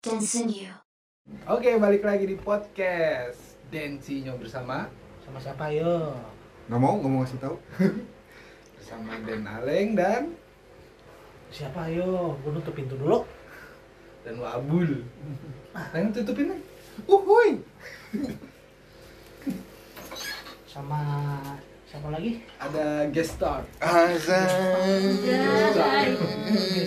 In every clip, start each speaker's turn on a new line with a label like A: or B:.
A: continue.
B: Oke, balik lagi di podcast Densinyo bersama
C: Sama siapa yo?
D: Nggak mau, nggak mau ngasih tahu.
B: bersama Den Aleng dan
C: Siapa yo? Gue nutup pintu dulu.
B: dan Wabul. Aleng tutupin Uh, Neng. Uhuy.
C: Sama siapa lagi?
B: Ada guest star.
D: Azan.
B: Guest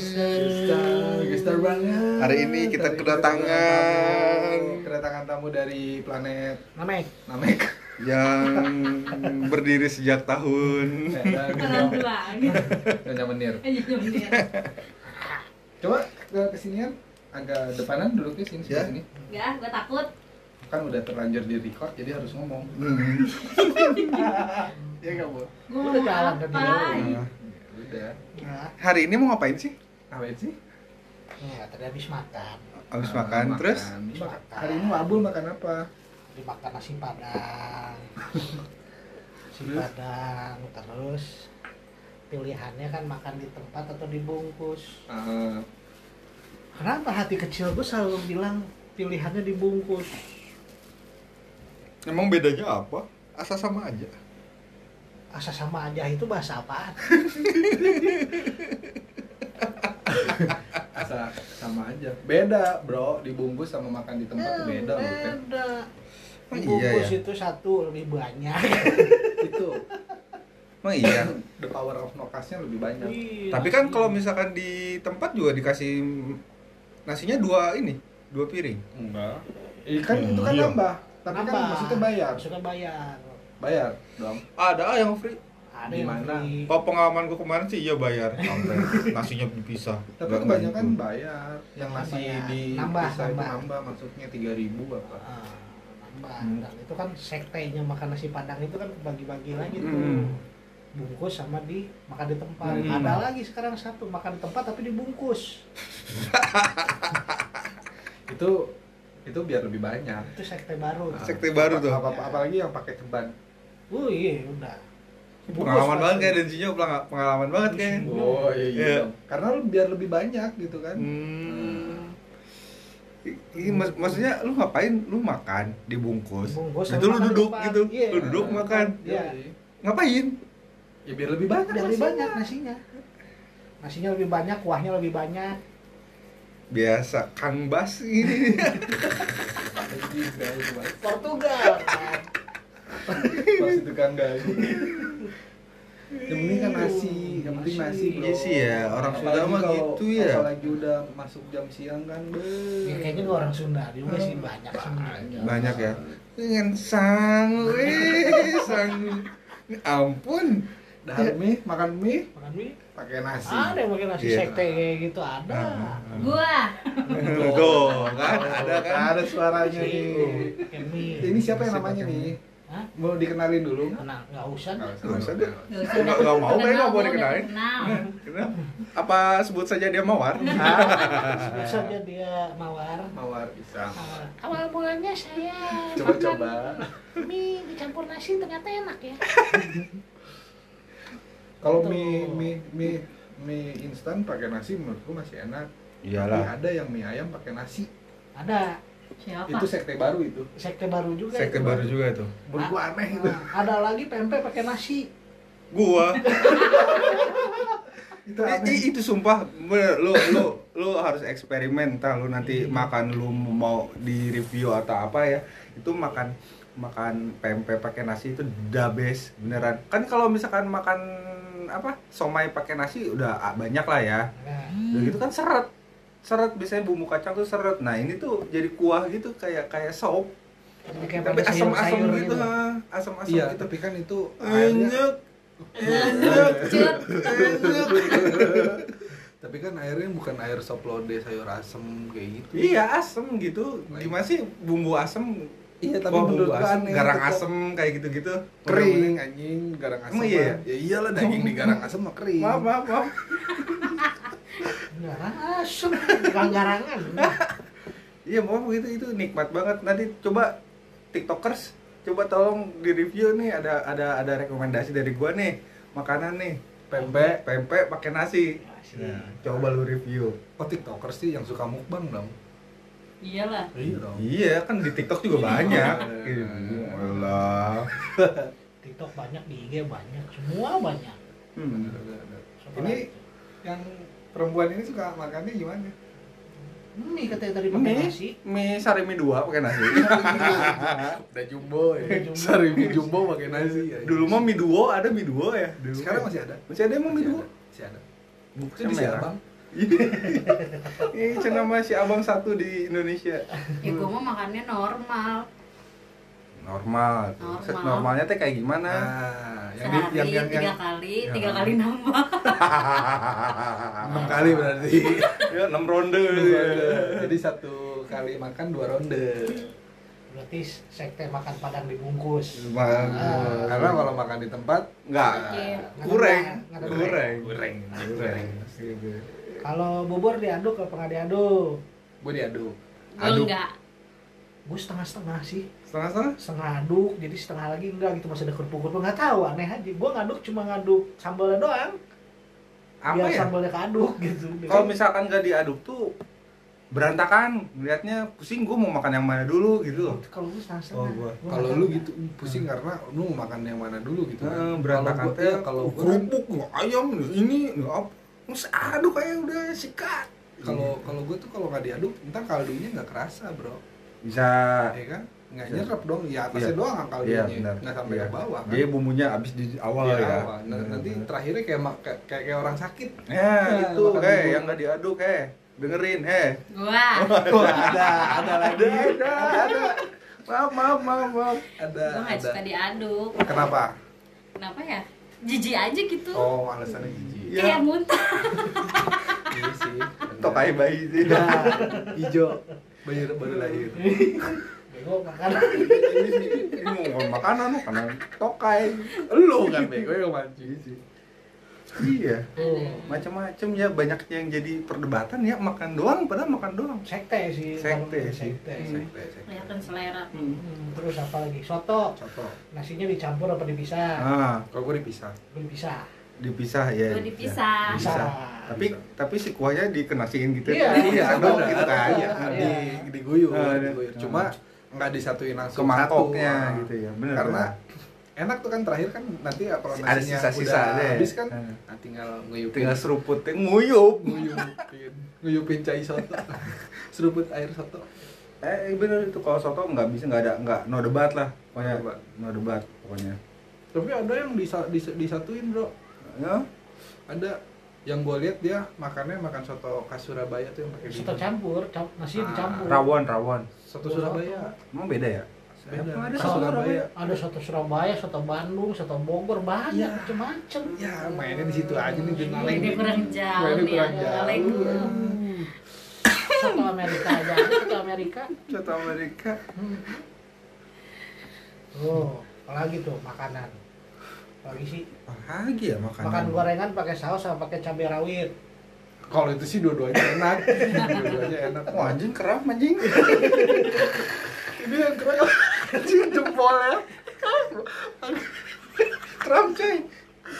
B: star, guest star banget.
D: Hari ini kita
B: Hari ini
D: kedatangan.
B: tamu- kedatangan tamu dari planet
C: Namanya
B: Namek.
D: yang berdiri sejak tahun.
B: Ada Ganyam- Ganyamenir. Coba ke kesinian agak depanan duduknya sini sebelah
D: Ya.
B: sini.
E: Enggak, gue takut.
B: Kan udah terlanjur di record jadi harus ngomong.
D: Hmm.
B: Iya enggak, Bu?
E: Gue
C: Udah jalan
E: mau
C: tadi
E: apa?
D: Nah,
B: Udah. Ya.
C: Nah,
D: hari ini mau ngapain sih?
B: Ngapain sih?
C: ya, tadi habis makan.
D: Habis
B: Ah,
D: makan, terus
B: Makan. Hari ini Wabul makan apa?
C: Dimakan nasi padang. Nasi
B: Terus?
C: padang terus pilihannya kan makan di tempat atau dibungkus.
B: Ah,
C: Kenapa hati kecil gue selalu bilang pilihannya dibungkus?
D: emang bedanya apa? Asa sama aja.
C: Asa sama aja itu bahasa apaan?
B: Asa- sama aja. Beda, Bro. Dibungkus sama makan di tempat tuh beda loh, kan.
C: Oh, Beda.
D: Emang iya
C: Bungkus
D: ya?
C: itu satu lebih banyak.
B: Itu
D: Emang iya.
B: the power of nokasnya lebih banyak.
C: Iya,
D: Tapi kan
C: nasi.
D: kalau misalkan di tempat juga dikasih nasinya dua ini, dua piring.
B: Enggak. Ikan
D: Hmm,
B: itu kan
D: iya.
B: nambah, tapi kan
C: Nambah.
B: maksudnya bayar.
C: Maksudnya bayar.
B: Bayar dong.
D: Ada ah yang free.
C: Ada
B: Di
C: yang
B: mana?
C: free.
D: Kalau Oh, pengalaman gue kemarin sih iya bayar. Sampai nasinya dipisah.
B: Tapi
D: Nggak
B: kebanyakan
D: gitu.
B: bayar. Yang nasi
C: Bayar.
B: di
C: ya. Nambah,
B: desa itu
C: nambah.
B: nambah maksudnya 3000 apa.
C: Ah, nambah.
D: Hmm.
C: Dan itu kan sektenya makan nasi padang itu kan bagi-bagi lagi tuh.
D: Hmm.
C: Bungkus sama di makan di tempat.
D: Hmm.
C: Ada lagi sekarang satu makan di tempat tapi dibungkus.
B: Itu itu biar lebih banyak.
C: Itu sekte baru.
B: Ah,
D: Sekte baru tuh.
B: apa- apa- apalagi yang pakai ceban.
C: Oh iya udah.
D: gitu. Pengalaman banget kayak Densinyo pengalaman banget kayak.
B: Oh iya, iya.
D: Iya.
B: dong. Karena lu biar lebih banyak gitu kan.
D: Hmm. I- Ini mak- maksudnya lu ngapain? Lu makan dibungkus.
C: Dibungkus,
D: Itu
C: sama
D: lu
C: makan di
D: duduk
C: depan.
D: gitu.
C: Iya.
D: Lu duduk makan.
C: Iya.
B: Yoi.
D: Ngapain?
B: Ya biar lebih banyak.
C: Biar lebih
B: nasinya.
C: banyak nasinya. Nasinya lebih banyak, kuahnya lebih banyak.
D: Biasa Kang Bas ini.
B: Anjing, gaul banget.
C: Portugal.
B: iya. kan? Pas kan, tukang gaul. Yang penting kan nasi, yang penting nasi bro.
D: Iya sih ya, orang
B: Apalagi
D: Sunda mah
B: kalau-
D: gitu ya.
B: Apalagi udah masuk jam siang kan, be.
C: Ya, kayaknya dua orang Sunda juga sih banyak sebenarnya.
D: Banyak ya. Dengan sang eh sang ampun.
B: Dahar mie, makan mie,
C: Makan mie?
B: pakai nasi.
C: Ada yang pakai nasi
D: Iya. Ah.
C: sekte kayak gitu ada.
E: Gua
D: Nah. Tuh, kan ada
B: Ada
D: kan.
B: Oh,
D: oh.
B: ada suaranya nih.
C: Kayak mie.
B: Ini siapa yang namanya nih?
C: Hah?
B: Mau dikenalin dulu?
C: Nah, nggak usah.
D: Nggak usah deh.
E: Nggak usah.
D: Nggak- nggak mau, kayaknya nggak mau
E: Kenal,
D: dikenalin.
E: kenal.
D: Kenapa? Apa sebut saja dia mawar?
C: Sebut saja dia mawar.
B: Mawar bisa.
C: Mawar. Awal mulanya saya
B: Coba-coba.
C: makan mie dicampur nasi ternyata enak ya.
B: Kalau
C: Betul.
B: mie mie mie mie instan pakai nasi menurutku masih enak. Tapi ada yang mie ayam pakai nasi.
C: Ada
E: Siapa?
B: Itu sekte baru itu.
C: sekte baru juga.
D: Sekte baru juga tuh.
B: Menurutku aneh itu.
C: Nah, ada lagi pempek pakai nasi.
D: Gua.
B: Itu
D: I-
B: aneh.
D: i- itu sumpah bener, lu lu lu harus eksperimen entah lu nanti makan lu mau di review atau apa ya itu makan makan pempek pakai nasi itu the best beneran kan kalau misalkan makan apa somai pakai nasi udah ah, banyak lah ya
C: Nah,
D: udah gitu kan seret seret biasanya bumbu kacang tuh seret nah ini tuh jadi kuah gitu kayak kayak sop
C: jadi kayak
D: tapi
C: pakai
D: asam-asam
C: sayur-sayur
D: gitu ah, asam-asam
B: Iya,
D: gitu
B: tapi kan itu airnya Iya.
D: enak enak
E: Cut.
D: enak
B: tapi kan airnya bukan air sop lode sayur asem kayak gitu.
D: Iya asem gitu. Gimana sih bumbu asem?
B: Iya, tapi
D: Wah,
B: menurut
D: bumbu
B: gua
D: asem,
B: aneh.
D: garang
B: Tetep-
D: asem kayak gitu-gitu.
B: Kering anjing garang asem.
D: Emang iya
B: mah. Ya iyalah daging di garang asem mah kering.
D: Maaf, maaf, maaf.
C: Garang Nah, asem, garang-garangan.
D: Nah. Iya, maaf gitu itu nikmat banget. Nanti coba TikTokers coba tolong di review nih ada ada ada rekomendasi dari gua nih makanan nih
B: Pempek,
D: pempek pakai nasi.
C: Nasi.
D: Nah, coba lu review.
B: Oh, kok tiktoker sih yang suka mukbang dong?
E: iyalah
B: Iya dong. Iya.
D: Iya kan di TikTok juga banyak. Gitu. Alah.
C: TikTok banyak di IG banyak semua banyak
D: Hmm.
C: Soalnya-
B: Ini yang perempuan ini suka makannya gimana?
C: ini katanya tadi pakai
D: Mie,
C: nasi
D: mie sarimi dua pakai nasi.
A: Udah jumbo ya. Sarimi jumbo pakai nasi ya.
D: Dulu mah gitu. mie duo ada mie duo ya. Dulu
B: Sekarang
D: mah.
B: masih ada?
D: masih ada emang mie duo.
B: Masih ada. Itu
D: Bukan
B: di Siabang.
D: Ini channel nama si abang satu di Indonesia.
E: ya gua mah makannya normal
D: Normal.
E: Normal.
D: Set Normalnya teh kayak gimana?
B: Nah, yang di,
E: sehari
B: yang yang
E: tiga
B: yang
E: kali
D: Ya.
E: tiga kali nambah
B: enam
D: iya.
B: kali berarti.
D: Ah, ya, 6 ronde.
B: Dua ronde. Jadi satu kali makan dua ronde.
C: berarti sekte makan padang dibungkus
D: Makan.
C: Ah.
B: Nah, Karena
D: iya.
B: kalau makan di tempat
D: Enggak.
E: Kecil.
D: Kurang.
C: Nggak ada
D: Kurang.
B: goreng, Gitu. goreng.
C: kalau bubur diaduk apa nggak diaduk
B: Gue diaduk.
E: gua
B: Aduk.
E: enggak
C: gue setengah-setengah sih
D: Setengah setengah.
C: setengah aduk jadi setengah lagi enggak gitu masih ada kerupuk-kerupuk nggak tahu aneh aja gue ngaduk cuma ngaduk sambalnya doang
D: Apa
C: biar
D: ya?
C: sambalnya keaduk gitu
D: Kalau misalkan gak diaduk tuh berantakan, lihatnya pusing gue mau makan yang mana dulu gitu loh.
C: kalau gue setengah-setengah
D: Oh, gua.
C: Gua
B: Kalau
C: nggak
B: lu
C: tahu.
B: gitu pusing karena lu mau makan yang mana dulu gitu.
D: Eh,
B: kan.
D: Hmm. berantakan
B: Kalau gua- iya, kalau gua kan-
D: gua ayam, ini, apa. Terus aduk aja udah sikat.
B: kalau kalau gue tuh kalau nggak diaduk ntar kaldunya nggak kerasa bro
D: Bisa
B: ya kan nggak
D: Iya.
B: nyerap dong ya atasnya
D: Iya.
B: doang
D: Iya,
B: kaldunya
D: benar.
B: nggak sampai
D: Iya.
B: ke bawah kan
D: Jadi bumbunya habis di awal
B: Di
D: ya.
B: awal. Nah, nanti terakhirnya kayak mak kayak, kayak kayak orang sakit
D: Eh,
B: Nah,
D: itu
B: makan
D: eh
B: bubur.
D: yang nggak diaduk eh. Dengerin eh.
E: gua
B: ada ada lagi
D: Ada, ada, ada. Maaf, maaf, maaf, maaf.
B: ada
E: gua nggak
B: ada
E: suka diaduk
B: kenapa
E: kenapa ya jijik aja gitu
B: oh alasannya jijik
D: Iya.
E: kayak muntah
B: iya sih
D: Tokai bayi sih.
B: Nah, hijau baru baru lahir
C: bego makan
D: ini mau bukan makanan, makanan tokai.
B: lu kan bego yang mancing sih
D: Iya.
C: Tuh.
D: macam-macam ya banyak yang jadi perdebatan ya makan doang padahal makan doang
C: sekte sih kalau
D: Sekte
C: gua
D: sih.
C: sekte
B: Sekte, sekte.
E: kelihatan selera
C: Hmm, terus apa lagi soto
B: contoh
C: nasinya dicampur apa dipisah
D: ah
B: kalau gue dipisah
C: Gua dipisah
D: dipisah ya
E: Gua dipisah.
D: Ya, dipisah. tapi tapi si kuahnya dikenasin gitu
C: Iya,
D: Jadi
B: iya
D: diaduk
B: benar.
D: gitu kan
C: Iya.
B: di diguyur,
D: Ah, iya.
B: diguyur. cuma nggak disatuin
D: ke
B: langsung
D: mangkoknya
B: satu. Ah,
D: gitu ya benar
B: karena enak tuh kan terakhir kan nanti ya kalau
D: Ada
B: nasinya
D: sisa-sisa
B: udah
D: deh.
B: habis kan
D: Ah.
B: nah, tinggal nguyupin
D: tinggal seruputin nguyup
B: nguyupin nguyupin cai soto seruput air soto
D: eh bener itu kalau soto nggak bisa nggak ada nggak no debat lah pokoknya
B: No debat.
D: no debat pokoknya
B: tapi ada yang disa- dis- disatuin bro
D: ya
B: ada yang gue lihat dia makannya makan soto khas Surabaya tuh yang pakai
C: soto
B: bihun.
C: campur cap-
B: Ah,
C: nasinya dicampur
D: rawon rawon
B: soto Surabaya
D: emang beda ya
B: Beda.
D: Emang ada
B: Khas
D: soto
B: Surabaya.
C: ada soto Surabaya soto Bandung soto Bogor banyak
B: Iya.
C: macem-macem
B: ya mainnya di situ aja nih jadi
E: mainnya kurang jauh ya. nih
B: mainnya kurang
E: agak
B: jauh Iya.
E: lengkung.
C: soto Amerika aja ada soto Amerika
D: soto Amerika
C: Oh, apalagi tuh makanan. Apalagi sih
D: apalagi ya makan
C: makan gorengan pakai saus sama pakai cabai rawit.
B: kalau itu sih dua-duanya enak dua-duanya enak
D: Wah Oh, anjing keram anjing
B: ini yang keren anjing ya. jempolnya
D: keram coy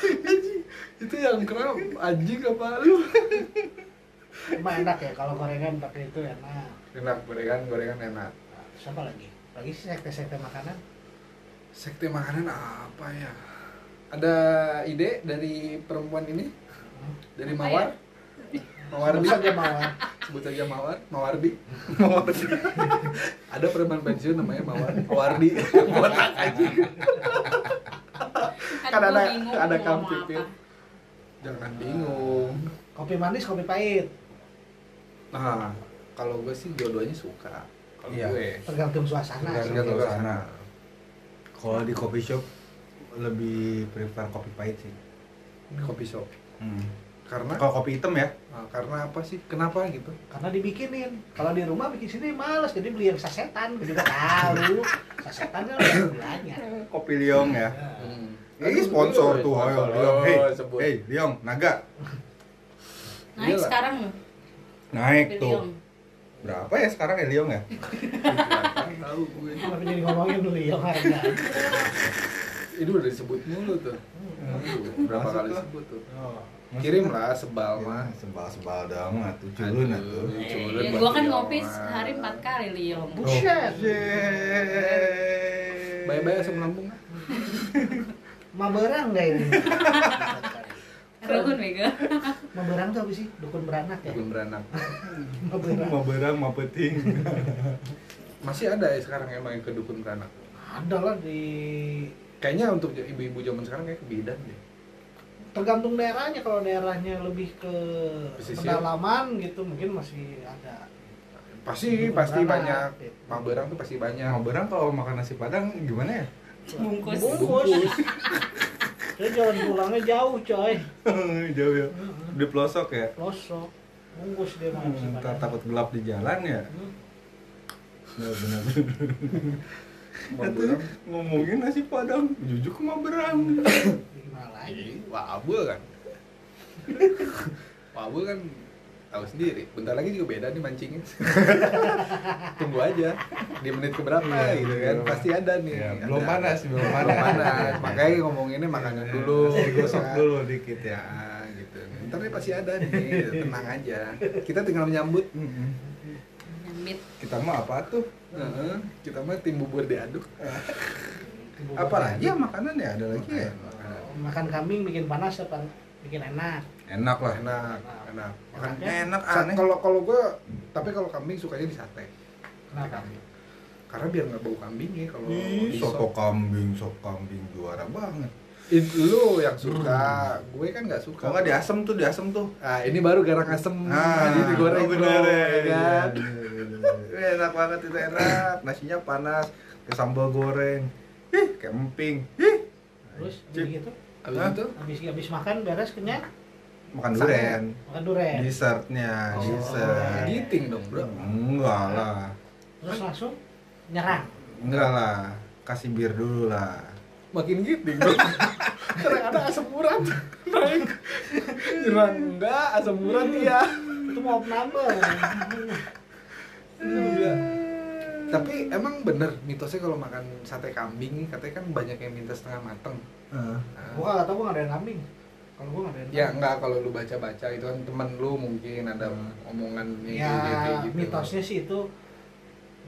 B: anjing itu yang keren anjing apa lu
C: Emang enak ya kalau gorengan pakai itu enak.
B: enak gorengan gorengan enak
C: Nah, terus apa lagi? Lagi sih sekte-sekte makanan.
B: sekte makanan apa ya ada ide dari perempuan ini dari
E: Apa
B: mawar
C: Mawar
B: Mawarbi
C: bisa dia mawar.
B: sebut aja mawar mawarbi mawarbi ada perempuan pensiun namanya mawar mawardi botak aja
E: Kan
B: Kan
E: gua
B: ada-
E: bingung
B: ada
E: mau
B: Kang
E: ngomong
B: Pipit.
E: apa.
B: jangan bingung
C: Kopi manis, kopi pahit.
B: nah kalau gue sih dua-duanya suka kalau
D: Iya.
B: gue
C: Tergantung suasana. sih.
D: Tergantung. Tergantung sana. Kalau di coffee shop lebih prefer kopi pahit sih.
B: kopi shop
D: Hmm.
B: karena
D: Kalau kopi hitam ya?
B: Nah, karena apa sih? Kenapa gitu?
C: Karena dibikinin. Kalau di rumah bikin sini males, jadi beli yang sasetan. Jadi nggak tahu. Sasetan kan udah ada gulanya.
D: Kopi Liong ya.
C: Nah,
B: Hmm.
D: Ini sponsor tuh, ayo
B: Sponsor.
D: Liong.
B: Oh,
D: Hey,
B: sebut.
D: hey, Liong, naga.
E: naik
B: Iyalah.
E: Nah, sekarang
D: Naik
E: Beliung.
D: tuh. Berapa ya sekarang ya Liong ya?
B: Nggak tahu gue.
C: iya, Kenapa jadi ngomongin beli yang harga?
B: Ini udah disebut mulu tuh. Aduh, berapa
D: Masuk
B: kali
D: tuh. Iya.
B: sebut tuh.
D: Oh.
F: Kirim lah sebal
D: Mah
F: mah.
D: sebal-sebal dong atuh culun atuh.
B: Aduh. Culun
E: Eh, gua kan
B: banget.
E: ngopi sehari empat kali liom.
C: Buset.
B: Bye-bye asam lambung ah.
C: Maberang gak ini?
E: Rukun Mega.
C: Maberang tuh apa sih? Dukun beranak ya?
B: Dukun beranak.
C: Maberang.
D: Mau berang mau peting.
B: Masih ada ya sekarang emang yang ke dukun beranak.
C: Ada lah di...
B: Kayaknya untuk ibu-ibu zaman sekarang kayak kebidan deh.
C: Tergantung daerahnya, kalau daerahnya lebih ke
B: Pesisir.
C: pedalaman gitu mungkin masih ada.
B: Pasti
C: Dukun
B: pasti banyak.
C: beranak, gitu.
B: Maberang tuh pasti banyak.
D: Ya, Mau berang kalau makan nasi padang gimana ya?
E: Bungkus.
C: Bungkus. Dia jalan pulangnya jauh coy.
D: Jauh ya. Di pelosok ya.
C: Losok. Bungkus dia mah.
D: Hmm,
C: Hmm,
D: Ntar takut gelap di jalan ya. Benar-benar.
B: Maberang.
D: Ngomongin nasi padang, jujur ke mau berang.
C: Gimana lagi?
B: Ih, Wabul kan. Wabul kan tahu sendiri. Bentar lagi juga beda nih mancingnya. Tunggu aja di menit keberapa
D: Iya,
B: gitu
D: iya,
B: kan.
D: iya.
B: Pasti ada nih.
D: Ya,
B: Ada.
D: belum panas, belum
B: Belum
D: panas. Iya.
B: panas. Makanya ngomonginnya makannya dulu. gitu
D: gosok
B: kan.
D: dulu dikit ya.
B: Ya gitu. Ntar nih pasti ada nih. Tenang aja. Kita tinggal menyambut.
D: Mm-mm.
E: Nyamit.
D: Kita mah apa tuh?
B: Heeh, kita mah tim bubur diaduk.
D: Apalagi ya makanan ya ada lagi ya.
B: Makanan.
C: Makan kambing bikin panas apa? Bikin enak.
D: Enak lah.
B: Enak, enak. Makan
C: Enaknya
D: enak
B: Sa-
D: aneh.
B: Kalau kalau gue, tapi kalau kambing sukanya di sate.
C: Kenapa?
B: Kambing. Karena biar nggak bau kambing ya kalau
D: Ih,
B: di
D: soto
B: sop.
D: kambing, soto kambing juara banget.
B: It- lu yang suka, gue kan nggak suka.
D: Kalau nggak di asem tuh, di asem tuh.
B: Ah, ini baru garang asem. ini Hmm, digoreng
D: oh bener
B: bro,
D: ya.
B: ya kan?
D: Iya, iya, iya, iya. enak banget itu enak. Nasinya panas, ke sambal goreng. Ih, kayak emping. Ih,
C: Terus
D: Cip.
C: habis gitu,
B: Abis
D: Hah?
B: itu
C: habis habis makan beres kenyang,
D: makan
B: Sate.
D: durian.
C: makan durian.
D: Dessertnya,
C: Oh.
B: nah,
D: dessert.
B: giting dong bro.
D: Enggak lah.
C: Terus langsung nyerang.
D: Enggak lah. Kasih bir dulu lah.
B: Makin giting dong. Karena ada asam urat. Naik. Nyerang enggak, asam urat iya.
C: Itu mau number.
D: Iya.
B: Gila. Tapi emang bener mitosnya kalau makan sate kambing katanya kan banyak yang minta setengah mateng.
D: Eh,
B: Nah,
C: gua enggak tahu gua enggak ada yang kambing. Kalau gua enggak ada yang
B: Ya enggak kalau lu baca-baca itu kan temen lu mungkin ada omongan
D: gitu,
C: kambing.
B: nih
C: ya
B: kayak
C: mitosnya sih itu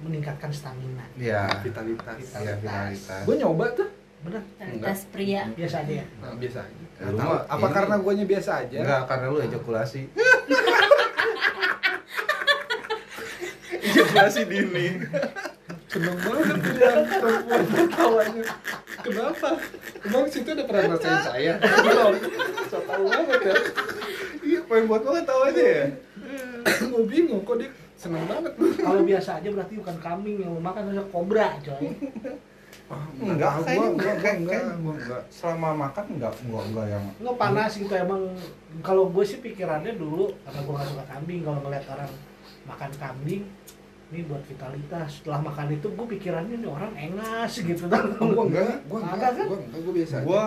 C: meningkatkan stamina.
D: Iya.
B: vitalitas.
D: Iya, vitalitas.
B: Gue nyoba tuh.
C: Bener,
E: Kualitas pria.
C: biasa aja ya.
B: Nah, biasa aja.
D: Ya,
B: Nggak
D: lu
B: tahu.
D: mah
B: apa
D: ini-
B: karena guanya biasa aja?
D: Enggak, karena lu ejakulasi. ejakulasi dini.
B: Seneng banget bilang perempuan ketawanya. Kenapa? Emang situ udah pernah ngerasain saya? Belum. So tau banget ya.
D: Iya, pengen buat banget tahu aja ya.
B: Gue bingung kok dia seneng banget lu.
C: Kalau biasa aja berarti bukan kambing yang lu makan, terus kobra coy.
D: Ah, Enggak,
B: Tahu,
D: kayaknya
B: gua,
D: enggak,
B: gua,
D: kayak-
B: enggak,
D: kayak-
B: gua enggak.
D: Selama makan enggak enggak enggak yang
C: Enggak panas gitu emang kalau gue sih pikirannya dulu karena gue gak suka kambing kalau ngeliat orang makan kambing ini buat vitalitas setelah makan itu gue pikirannya nih orang engas gitu kan
B: Gua enggak, gua
C: Ada
B: enggak,
C: kan?
B: gua enggak, gua biasa. aja.
D: gua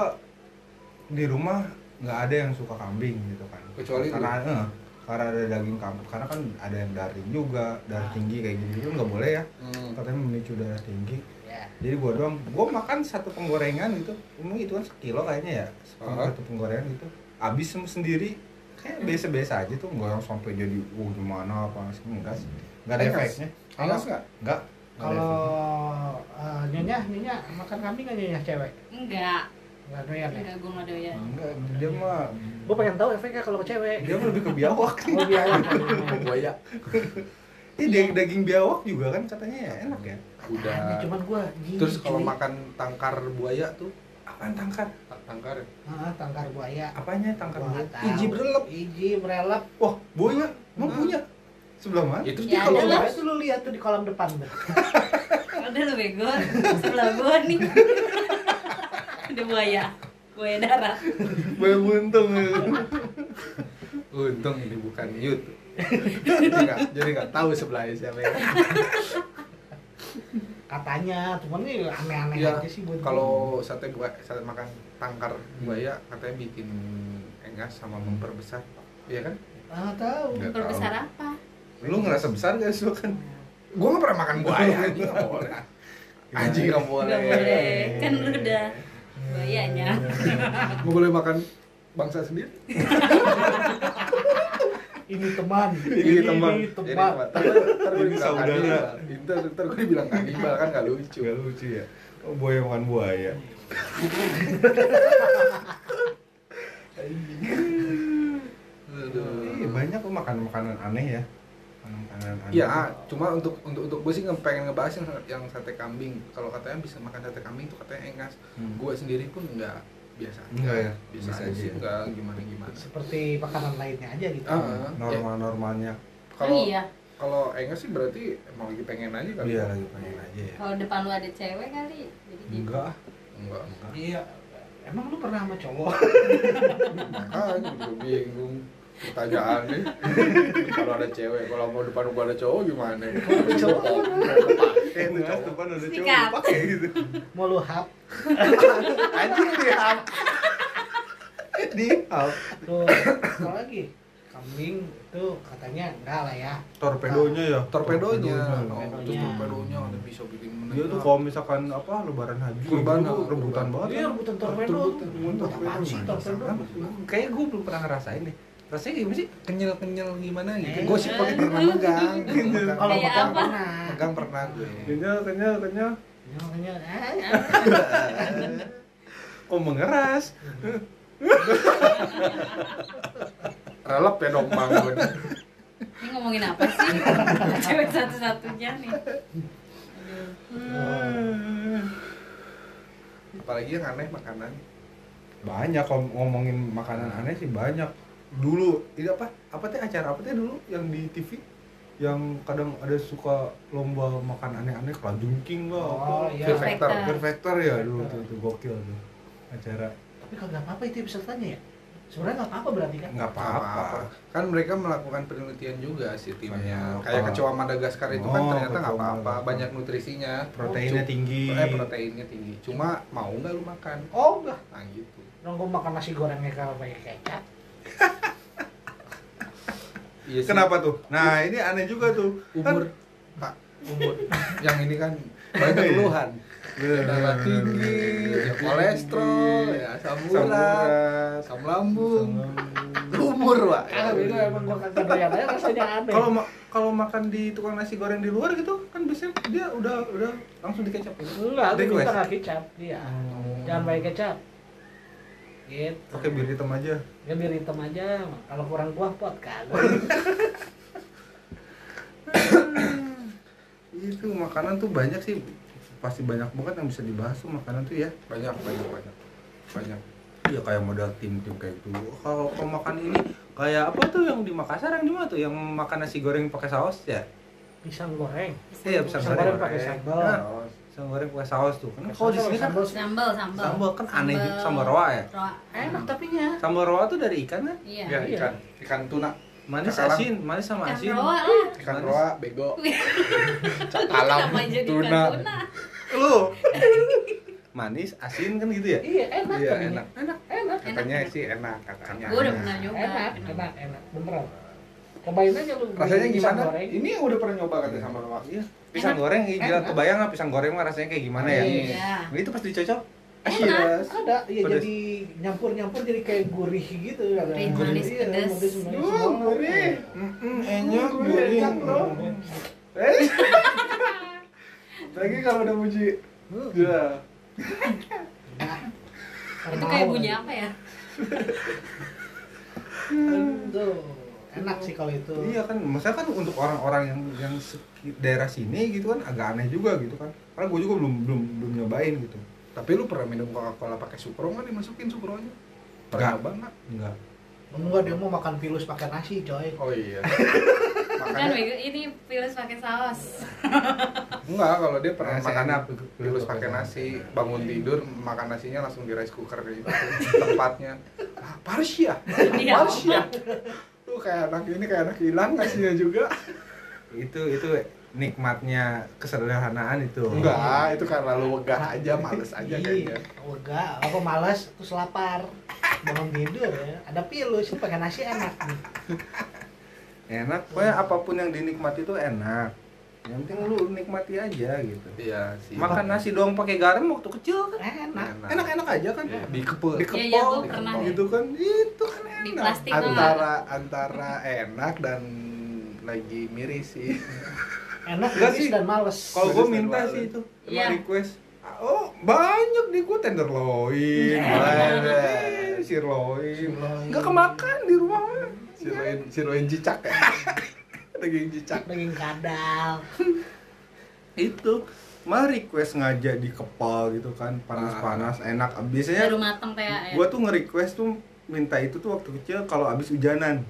D: di rumah nggak ada yang suka kambing gitu kan
B: Kecuali
D: karena eh, karena ada daging kambing karena kan ada yang daring juga
C: Ah.
D: darah tinggi kayak gitu kan nggak boleh ya
B: Hmm.
D: katanya memicu darah tinggi
C: ya
D: jadi gua doang gua makan satu penggorengan gitu umum itu kan sekilo kayaknya ya satu,
B: Ah.
D: satu penggorengan gitu habis sem- sendiri kayak biasa-biasa aja tuh nggak yang sampai jadi uh gimana apa sih enggak sih nggak ada
B: Enggak.
D: efeknya
B: Alas enggak?
D: nggak nggak ada
C: kalau
B: Iya
C: eh, nyonya nyonya makan kambing gak nyonya cewek
E: Enggak.
C: nggak doyan ya
E: Enggak gua enggak doyan.
D: efeknya. enggak dia mah
C: gue pengen tahu efeknya kalau ke cewek
D: dia mah lebih ke biawak
B: Oh,
C: Gua biarin.
B: Buaya.
D: Ini daging, daging biawak juga kan katanya ya enak ya.
C: Aneh,
B: Udah.
C: cuman gue
B: Terus kalau makan tangkar buaya tuh,
D: Apaan tangkar?
B: ta- tangkar ya?
C: tangkar buaya
D: Apanya tangkar?
C: Gua
D: buaya?
C: nggak tahu.
B: Iji berlelep.
C: iji berelep
D: Wah, buaya. Emang
B: Nah.
D: punya? Sebelah mana?
B: Itu
E: Ya,
B: dia kalau
E: ada
C: Nah,
E: lah.
C: itu lu lihat tuh di kolam depan tuh
E: Ada lu bego. Sebelah gua nih. Ada buaya. Buaya darat.
D: Buaya buntung.
B: Untung ini bukan mute. jadi nggak jadi nggak tahu sebelahnya siapa ya.
C: katanya cuman ini aneh-aneh
B: Iya,
C: aja sih buat
B: Kalau sate buaya, sate makan tangkar buaya katanya bikin engas sama memperbesar. Iya kan?
C: ah tahu
D: Nggak tahu.
E: Berbesar apa?
D: Lu ngerasa besar gak sih lu kan?
B: Gua nggak pernah makan buaya, anjing nggak boleh.
E: Enggak boleh. Kan lu udah Buayanya.
B: Mau boleh makan bangsa sendiri?
C: ini teman
D: Ini teman.
C: ini
B: Jadi
C: teman.
B: ntar ntar gue
D: Ini
B: dibilang
D: saudara.
B: kanibal. Ntar ntar gue dibilang kanibal kan nggak lucu.
D: Gak lucu ya. Oh, buaya makan buaya. Iya, banyak kok makan makanan aneh ya. Makanan aneh.
B: Iya, cuma untuk untuk untuk gue sih nge- pengen ngebahas yang, yang sate kambing. Kalau katanya bisa makan sate kambing tuh katanya engas.
D: Hmm.
B: Gue sendiri pun nggak biasa. aja.
D: Nggak ya?
B: Biasa,
D: Biasa
B: aja
D: aja
B: sih,
D: ya?
B: nggak gimana gimana.
C: seperti makanan lainnya aja gitu
B: Ah, ah.
D: normal-normalnya.
E: Oh
B: Kalau
E: iya,
B: kalau engas sih berarti emang lagi pengen aja kali.
D: Iya lagi pengen aja ya.
E: kalau depan lu ada cewek kali. Jadi gitu.
D: Enggak. ah.
B: Enggak.
C: iya emang lu pernah sama cowok
B: Makanya gue bingung pertanyaannya kalau ada cewek kalau mau depan gue ada cowok gimana
C: Cowok.
D: Eh, itu kan depan ada
E: Speak
D: cowok
E: up.
D: pakai gitu.
C: mau lu hap
D: Anjing dihap. Dihap.
C: tuh apa lagi kambing itu katanya enggak lah ya
D: Torpedonya ya.
B: torpedonya oh,
C: Torpedonya.
B: itu torpedonya ada bisa bikin menang
D: Dia tuh kalau misalkan apa lebaran haji
B: Kurban,
D: itu
B: ah,
D: rebutan
B: kurban.
D: banget.
C: Iya, rebutan torpedo.
D: Rebutan, rebutan
C: Rebutan apaan sih, torpedo?
D: Kayaknya gue belum pernah ngerasain deh. Rasanya gimana sih?
B: kenyal-kenyal gimana gitu
C: Eh.
B: gue sih pakai pernah megang
D: Gitu.
B: Megang-
C: kalau
E: Kayak
C: makan
E: apa?
C: pernah
B: megang pernah gue
D: Kenyal, kenyal, kenyal.
C: Ya, makanya eh,
D: Kok mengeras?
B: relap ya dong bang gue
E: Ini ngomongin apa sih? cewek satu-satunya nih. Aduh.
B: apalagi yang aneh makanan
D: Banyak kalau ngomongin makanan aneh sih banyak. Dulu, ini apa? Apa teh acara apa teh dulu yang di TV? yang kadang ada suka lomba makan aneh-aneh kelajungking lah apa
C: oh iya
B: Fear factor
E: Factor.
D: Fear Factor ya dulu tuh, tuh gokil tuh acara
C: tapi kalau nggak apa-apa itu ya pesertanya ya sebenarnya nggak apa-apa berarti kan
D: nggak Ya, apa-apa
B: kan mereka melakukan penelitian juga sih timnya
D: Kayak apa?
B: kayak kecoa Madagaskar itu kan
D: Oh,
B: ternyata nggak
D: kecoa
B: apa-apa
D: Madagaskar.
B: banyak nutrisinya
D: proteinnya
B: Cuma-
D: tinggi
B: eh proteinnya tinggi cuma mau nggak lu makan oh enggak nah gitu
C: nongkrong makan nasi gorengnya kalau pakai kecap
B: iya sih,
D: kenapa Kan tuh nah ini aneh juga tuh
B: umur pak umur yang ini kan banyak
D: Iya.
B: keluhan darah tinggi ya kolesterol ya samurat
D: Iya. samurat
B: asam lambung umur pak ya,
D: Iya.
C: ah itu emang gua kagak doyan aja rasanya aneh
D: kalau ma- kalau makan di tukang nasi goreng di luar gitu kan biasanya dia udah udah langsung dikecap gitu.
C: enggak gua
D: Request.
C: minta nggak kecap iya jangan pakai kecap gitu
D: Oke biar hitam aja.
C: ya biar hitam aja kalau kurang kuah pot kagak
D: Itu makanan tuh banyak sih pasti banyak banget yang bisa dibahas tuh makanan tuh ya.
B: banyak banyak banyak banyak
D: Iya kayak modal tim-tim kayak itu. Kalau kalau makan ini kayak apa tuh yang di Makassar yang di mana tuh yang makan nasi goreng pakai saus ya?
C: pisang goreng
D: Iya,
E: Sambal.
D: pisang
C: pisang goreng pakai
B: Eh,
C: sambal
D: Nah,
E: Ya.
D: pisang goreng pakai saus tuh. Kan kalau di sini kan
C: Sambal-
E: Sambal, sambal.
D: sambal kan aneh gitu sambal roa ya.
E: Roa. Eh,
C: enak tapi nya
D: Sambal roa tuh dari ikan kan?
E: Iya.
B: ya
C: iya.
B: ikan ikan tuna
D: Manis
B: Sekarang-
D: asin, manis sama
E: Ikan
D: asin.
E: roa lah.
B: ikan
D: Manis.
B: roa bego
E: Iya.
B: cakalang
E: Kenapa jadi ikan
B: tuna
E: tuna?
D: Lu. manis asin kan gitu ya? Nah,
C: iya enak
B: iya
C: tapi
B: enak enak
C: enak
B: katanya sih enak katanya
E: Gue udah pernah nyoba. Iya.
C: enak enak enak beneran cobain aja lu
D: Nah,
B: rasanya
C: beli pisang
B: gimana Iya.
C: goreng.
B: ini udah pernah nyoba katanya sama roa
D: Iya. Pisang goreng, iya, jelas kebayang lah pisang goreng mah rasanya kayak gimana ya?
C: Iya.
E: Iya.
D: Nah, Itu pas dicocok.
B: Asyik.
C: ada iya
D: Pedes.
C: jadi nyampur nyampur jadi kayak gurih gitu ada
E: Gurih, manis,
C: Iya,
E: pedes.
C: manis,
B: Uh,
C: manis banget.
B: gurih.
D: Heeh,
B: enak, enak, bro. Eh. Lagi kalau udah muji,
C: Hmm.
B: ya.
E: Itu kayak bunyi apa ya?
C: Tuh, enak sih kalau itu
D: Iya kan, maksudnya kan untuk orang-orang yang yang seki- daerah sini gitu kan agak aneh juga gitu kan. Karena gue juga belum belum belum nyobain gitu.
B: Tapi lu pernah minum Coca-Cola pakai Supro nggak dimasukin Supronya?
D: Nggak.
B: Pernah banget.
D: Enggak.
C: enggak dia mau makan pilus pakai nasi coy
B: Oh iya.
C: Iya.
E: Bukan
B: Makanya
E: Bego. Kan ini pilus pakai saus.
B: enggak kalau dia pernah
D: Nasi
B: makan
D: enak.
B: pilus pakai nasi, bangun tidur makan nasinya langsung di rice cooker gitu. Tempatnya. Ah, Parsia.
E: Iya.
B: Parsia. Lu kayak anak ini kayak anak hilang nasinya juga.
D: Itu itu nikmatnya kesederhanaan itu.
B: Enggak, itu karena lu wegah aja, males aja kayaknya.
C: Oh, enggak, aku malas, terus lapar. Bangun tidur ya. Ada pilus, lu pakai nasi enak nih.
D: Enak, pokoknya apapun yang dinikmati itu enak. yang penting lu nikmati aja gitu
B: Iya sih.
D: makan nasi doang pakai garam waktu kecil kan
B: enak.
D: enak enak aja kan
B: Iya, dikepel.
D: dikepol
E: Iya, iya, gua pernah ya.
D: gitu kan itu kan enak
E: Di plastik tau nggak?
B: antara antara enak dan lagi miris sih.
C: enak
D: Enggak
C: manis
D: sih.
C: dan males
D: Kalau gue
B: Terus
D: minta
B: terlalu.
D: sih itu, emang
E: Iya.
D: request. Oh banyak nih gue tenderloin,
E: Iya.
D: banyak sirloin,
B: Sirloin.
D: nggak kemakan di rumah mah.
B: Siruin siruin cicak ya. Daging cicak.
C: daging kadal
D: Itu mah request ngajak di kepal gitu kan, panas-panas, enak.
E: Baru
C: iya.
D: Biasanya
E: mateng teh ya.
D: gue tuh nge-request tuh minta itu tuh waktu kecil kalau abis hujanan.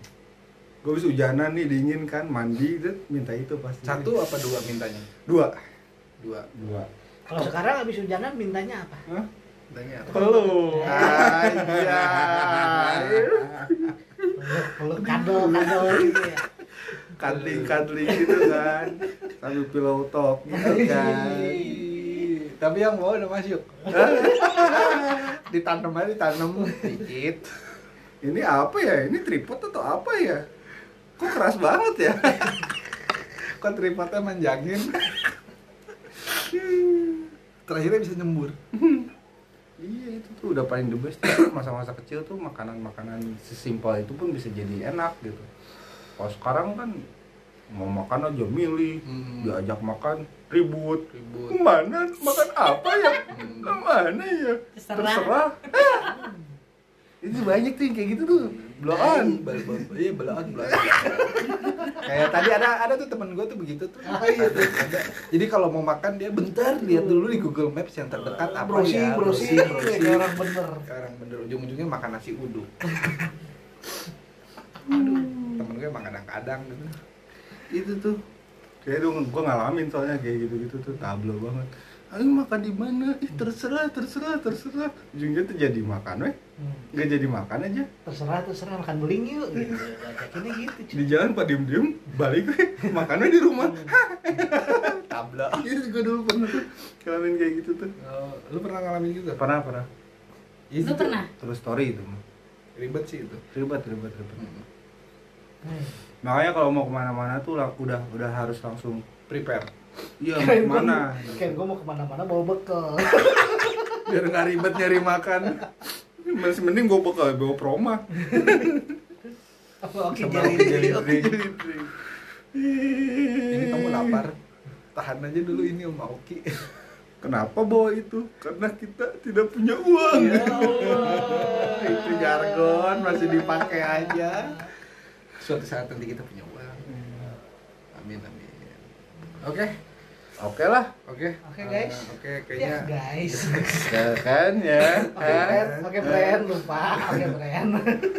D: Gue abis hujanan nih dingin kan, mandi itu minta itu pasti.
B: Satu apa dua mintanya?
D: dua,
B: Dua.
D: dua.
C: kalau sekarang habis hujanan mintanya apa
D: Hah?
B: Tanya apa?
D: Belum.
B: Iya.
C: peluk peluk Eh, kadal kadal gitu ya
D: kadling kadling gitu kan sambil pillow talk gitu kan
B: Ih, Tapi yang bawa udah masuk. ditanam aja ditanam dikit.
D: ini apa ya ini tripod atau apa ya kok keras banget ya
B: Kok tripodnya manjangin? Terakhirnya bisa nyembur.
D: iya itu tuh udah paling the best masa-masa kecil tuh makanan makanan sesimpel itu pun bisa jadi enak gitu kalau sekarang kan mau makan aja milih
B: Hmm.
D: diajak makan ribut
B: Ribut.
D: mana makan apa ya mana ya
E: Terserah.
D: Ah. itu banyak tuh yang kayak gitu tuh
B: Belaan.
D: blokan
B: Iya, belaan, belaan. Kayak tadi ada ada tuh temen gue tuh begitu tuh. Apa iya tuh? Ada. Jadi kalau mau makan dia bentar lihat dulu di Google Maps yang terdekat
D: Iya,
B: apa
C: browsing
B: ya. browsing,
C: browsing kayak
B: browsing.
C: orang bener
B: Sekarang bener ujung-ujungnya makan nasi uduk. Aduh, temen gue emang kadang-kadang gitu.
D: itu tuh kayak dong gue ngalamin soalnya kayak gitu gitu tuh tablo banget ayo makan di mana ih terserah terserah terserah ujungnya tuh jadi makan weh
C: Hmm,
D: nggak jadi makan aja
C: terserah terserah makan beling yuk gitu ajakinnya gitu cuy
D: di jalan pak diem diem balik weh makan weh di rumah Hah,
B: Tabla.
D: itu gue dulu pernah tuh ngalamin kayak gitu tuh
B: Eh, lu pernah ngalamin gitu?
D: pernah pernah
B: Iya
E: Lu
B: sih,
E: pernah?
D: terus story itu mah.
B: Ribet sih itu.
D: ribet ribet ribet
C: Hmm.
D: makanya kalau mau kemana-mana tuh lah- udah udah harus langsung
B: Prepare.
D: iya mau
C: Kayak gua-
D: kemana
C: kayak gue mau kemana-mana bawa bekal
D: biar nggak ribet nyari makan masih mending gue bakal bawa proma
C: oke
D: Sama
C: jadi
D: jelly drink. iya.
B: Ini kamu lapar. Tahan aja dulu ini Om Aoki.
D: Kenapa bawa itu? Karena kita tidak punya uang.
B: itu jargon masih dipakai aja. Suatu saat nanti kita punya uang. Amin amin. Oke,
D: Oke lah,
B: oke.
C: Oke, guys.
B: Eh, oke,
C: ya
B: kayaknya
C: guys
D: ya kan ya.
C: oke Bren oke Bren lupa oke Bren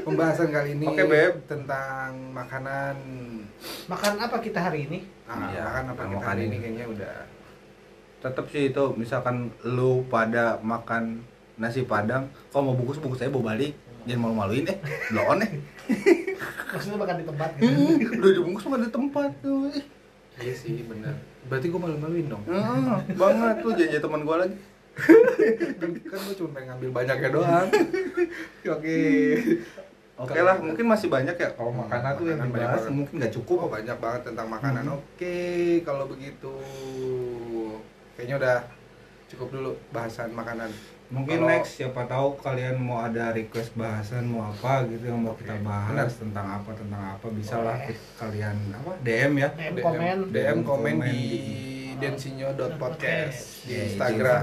B: pembahasan kali ini
D: Oke, Beb.
B: tentang makanan.
C: makan apa kita hari ini
B: Ah,
D: Iya,
B: makan apa kita
D: makan
B: hari ini
D: ini.
B: kayaknya udah.
D: Tetap sih itu, misalkan lu pada makan nasi padang, kalau mau bungkus bungkus saya bawa balik. Jangan malu-maluin eh, bloon eh.
C: maksudnya makan di tempat gitu
D: Hmm, udah dibungkus sama di tempat tuh. eh. Ih,
B: Iya sih, benar. Berarti gue malu-maluin dong.
D: ah, banget tuh janji teman gua lagi.
B: kan, kan gue cuma pengen ngambil banyaknya doang. Oke.
D: Oke lah, mungkin masih banyak ya kalau makanan tuh yang
B: Makanan banyak
D: dibahas
B: banget.
D: mungkin nggak
B: Oh,
D: cukup.
B: banyak banget tentang makanan.
D: Hmm.
B: Oke, kalau begitu kayaknya udah cukup dulu bahasan makanan.
D: Mungkin
B: Kalau-
D: next siapa tahu kalian mau ada request bahasan mau apa gitu yang mau
B: Oke.
D: kita bahas tentang apa tentang apa bisa lah
C: Boleh.
D: kalian apa DM ya.
C: DM komen
B: DM komen
D: Komen
B: di
D: di-
B: densinyo.podcast di
D: Ya,
B: Instagram.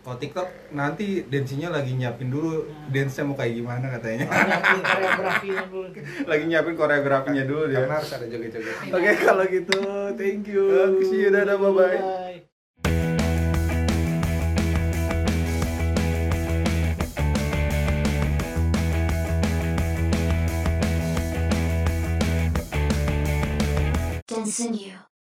D: Kalau TikTok nanti dance-nya lagi nyiapin dulu
C: Nah.
D: dance-nya mau kayak gimana katanya.
C: Koreografi- koreografinya dulu
D: lagi nyiapin koreografinya dulu dia.
B: Karena harus ada joget-joget.
D: Oke, kalau gitu thank you. Oke, see you dadah bye bye.
C: Bye.
G: Dancing you.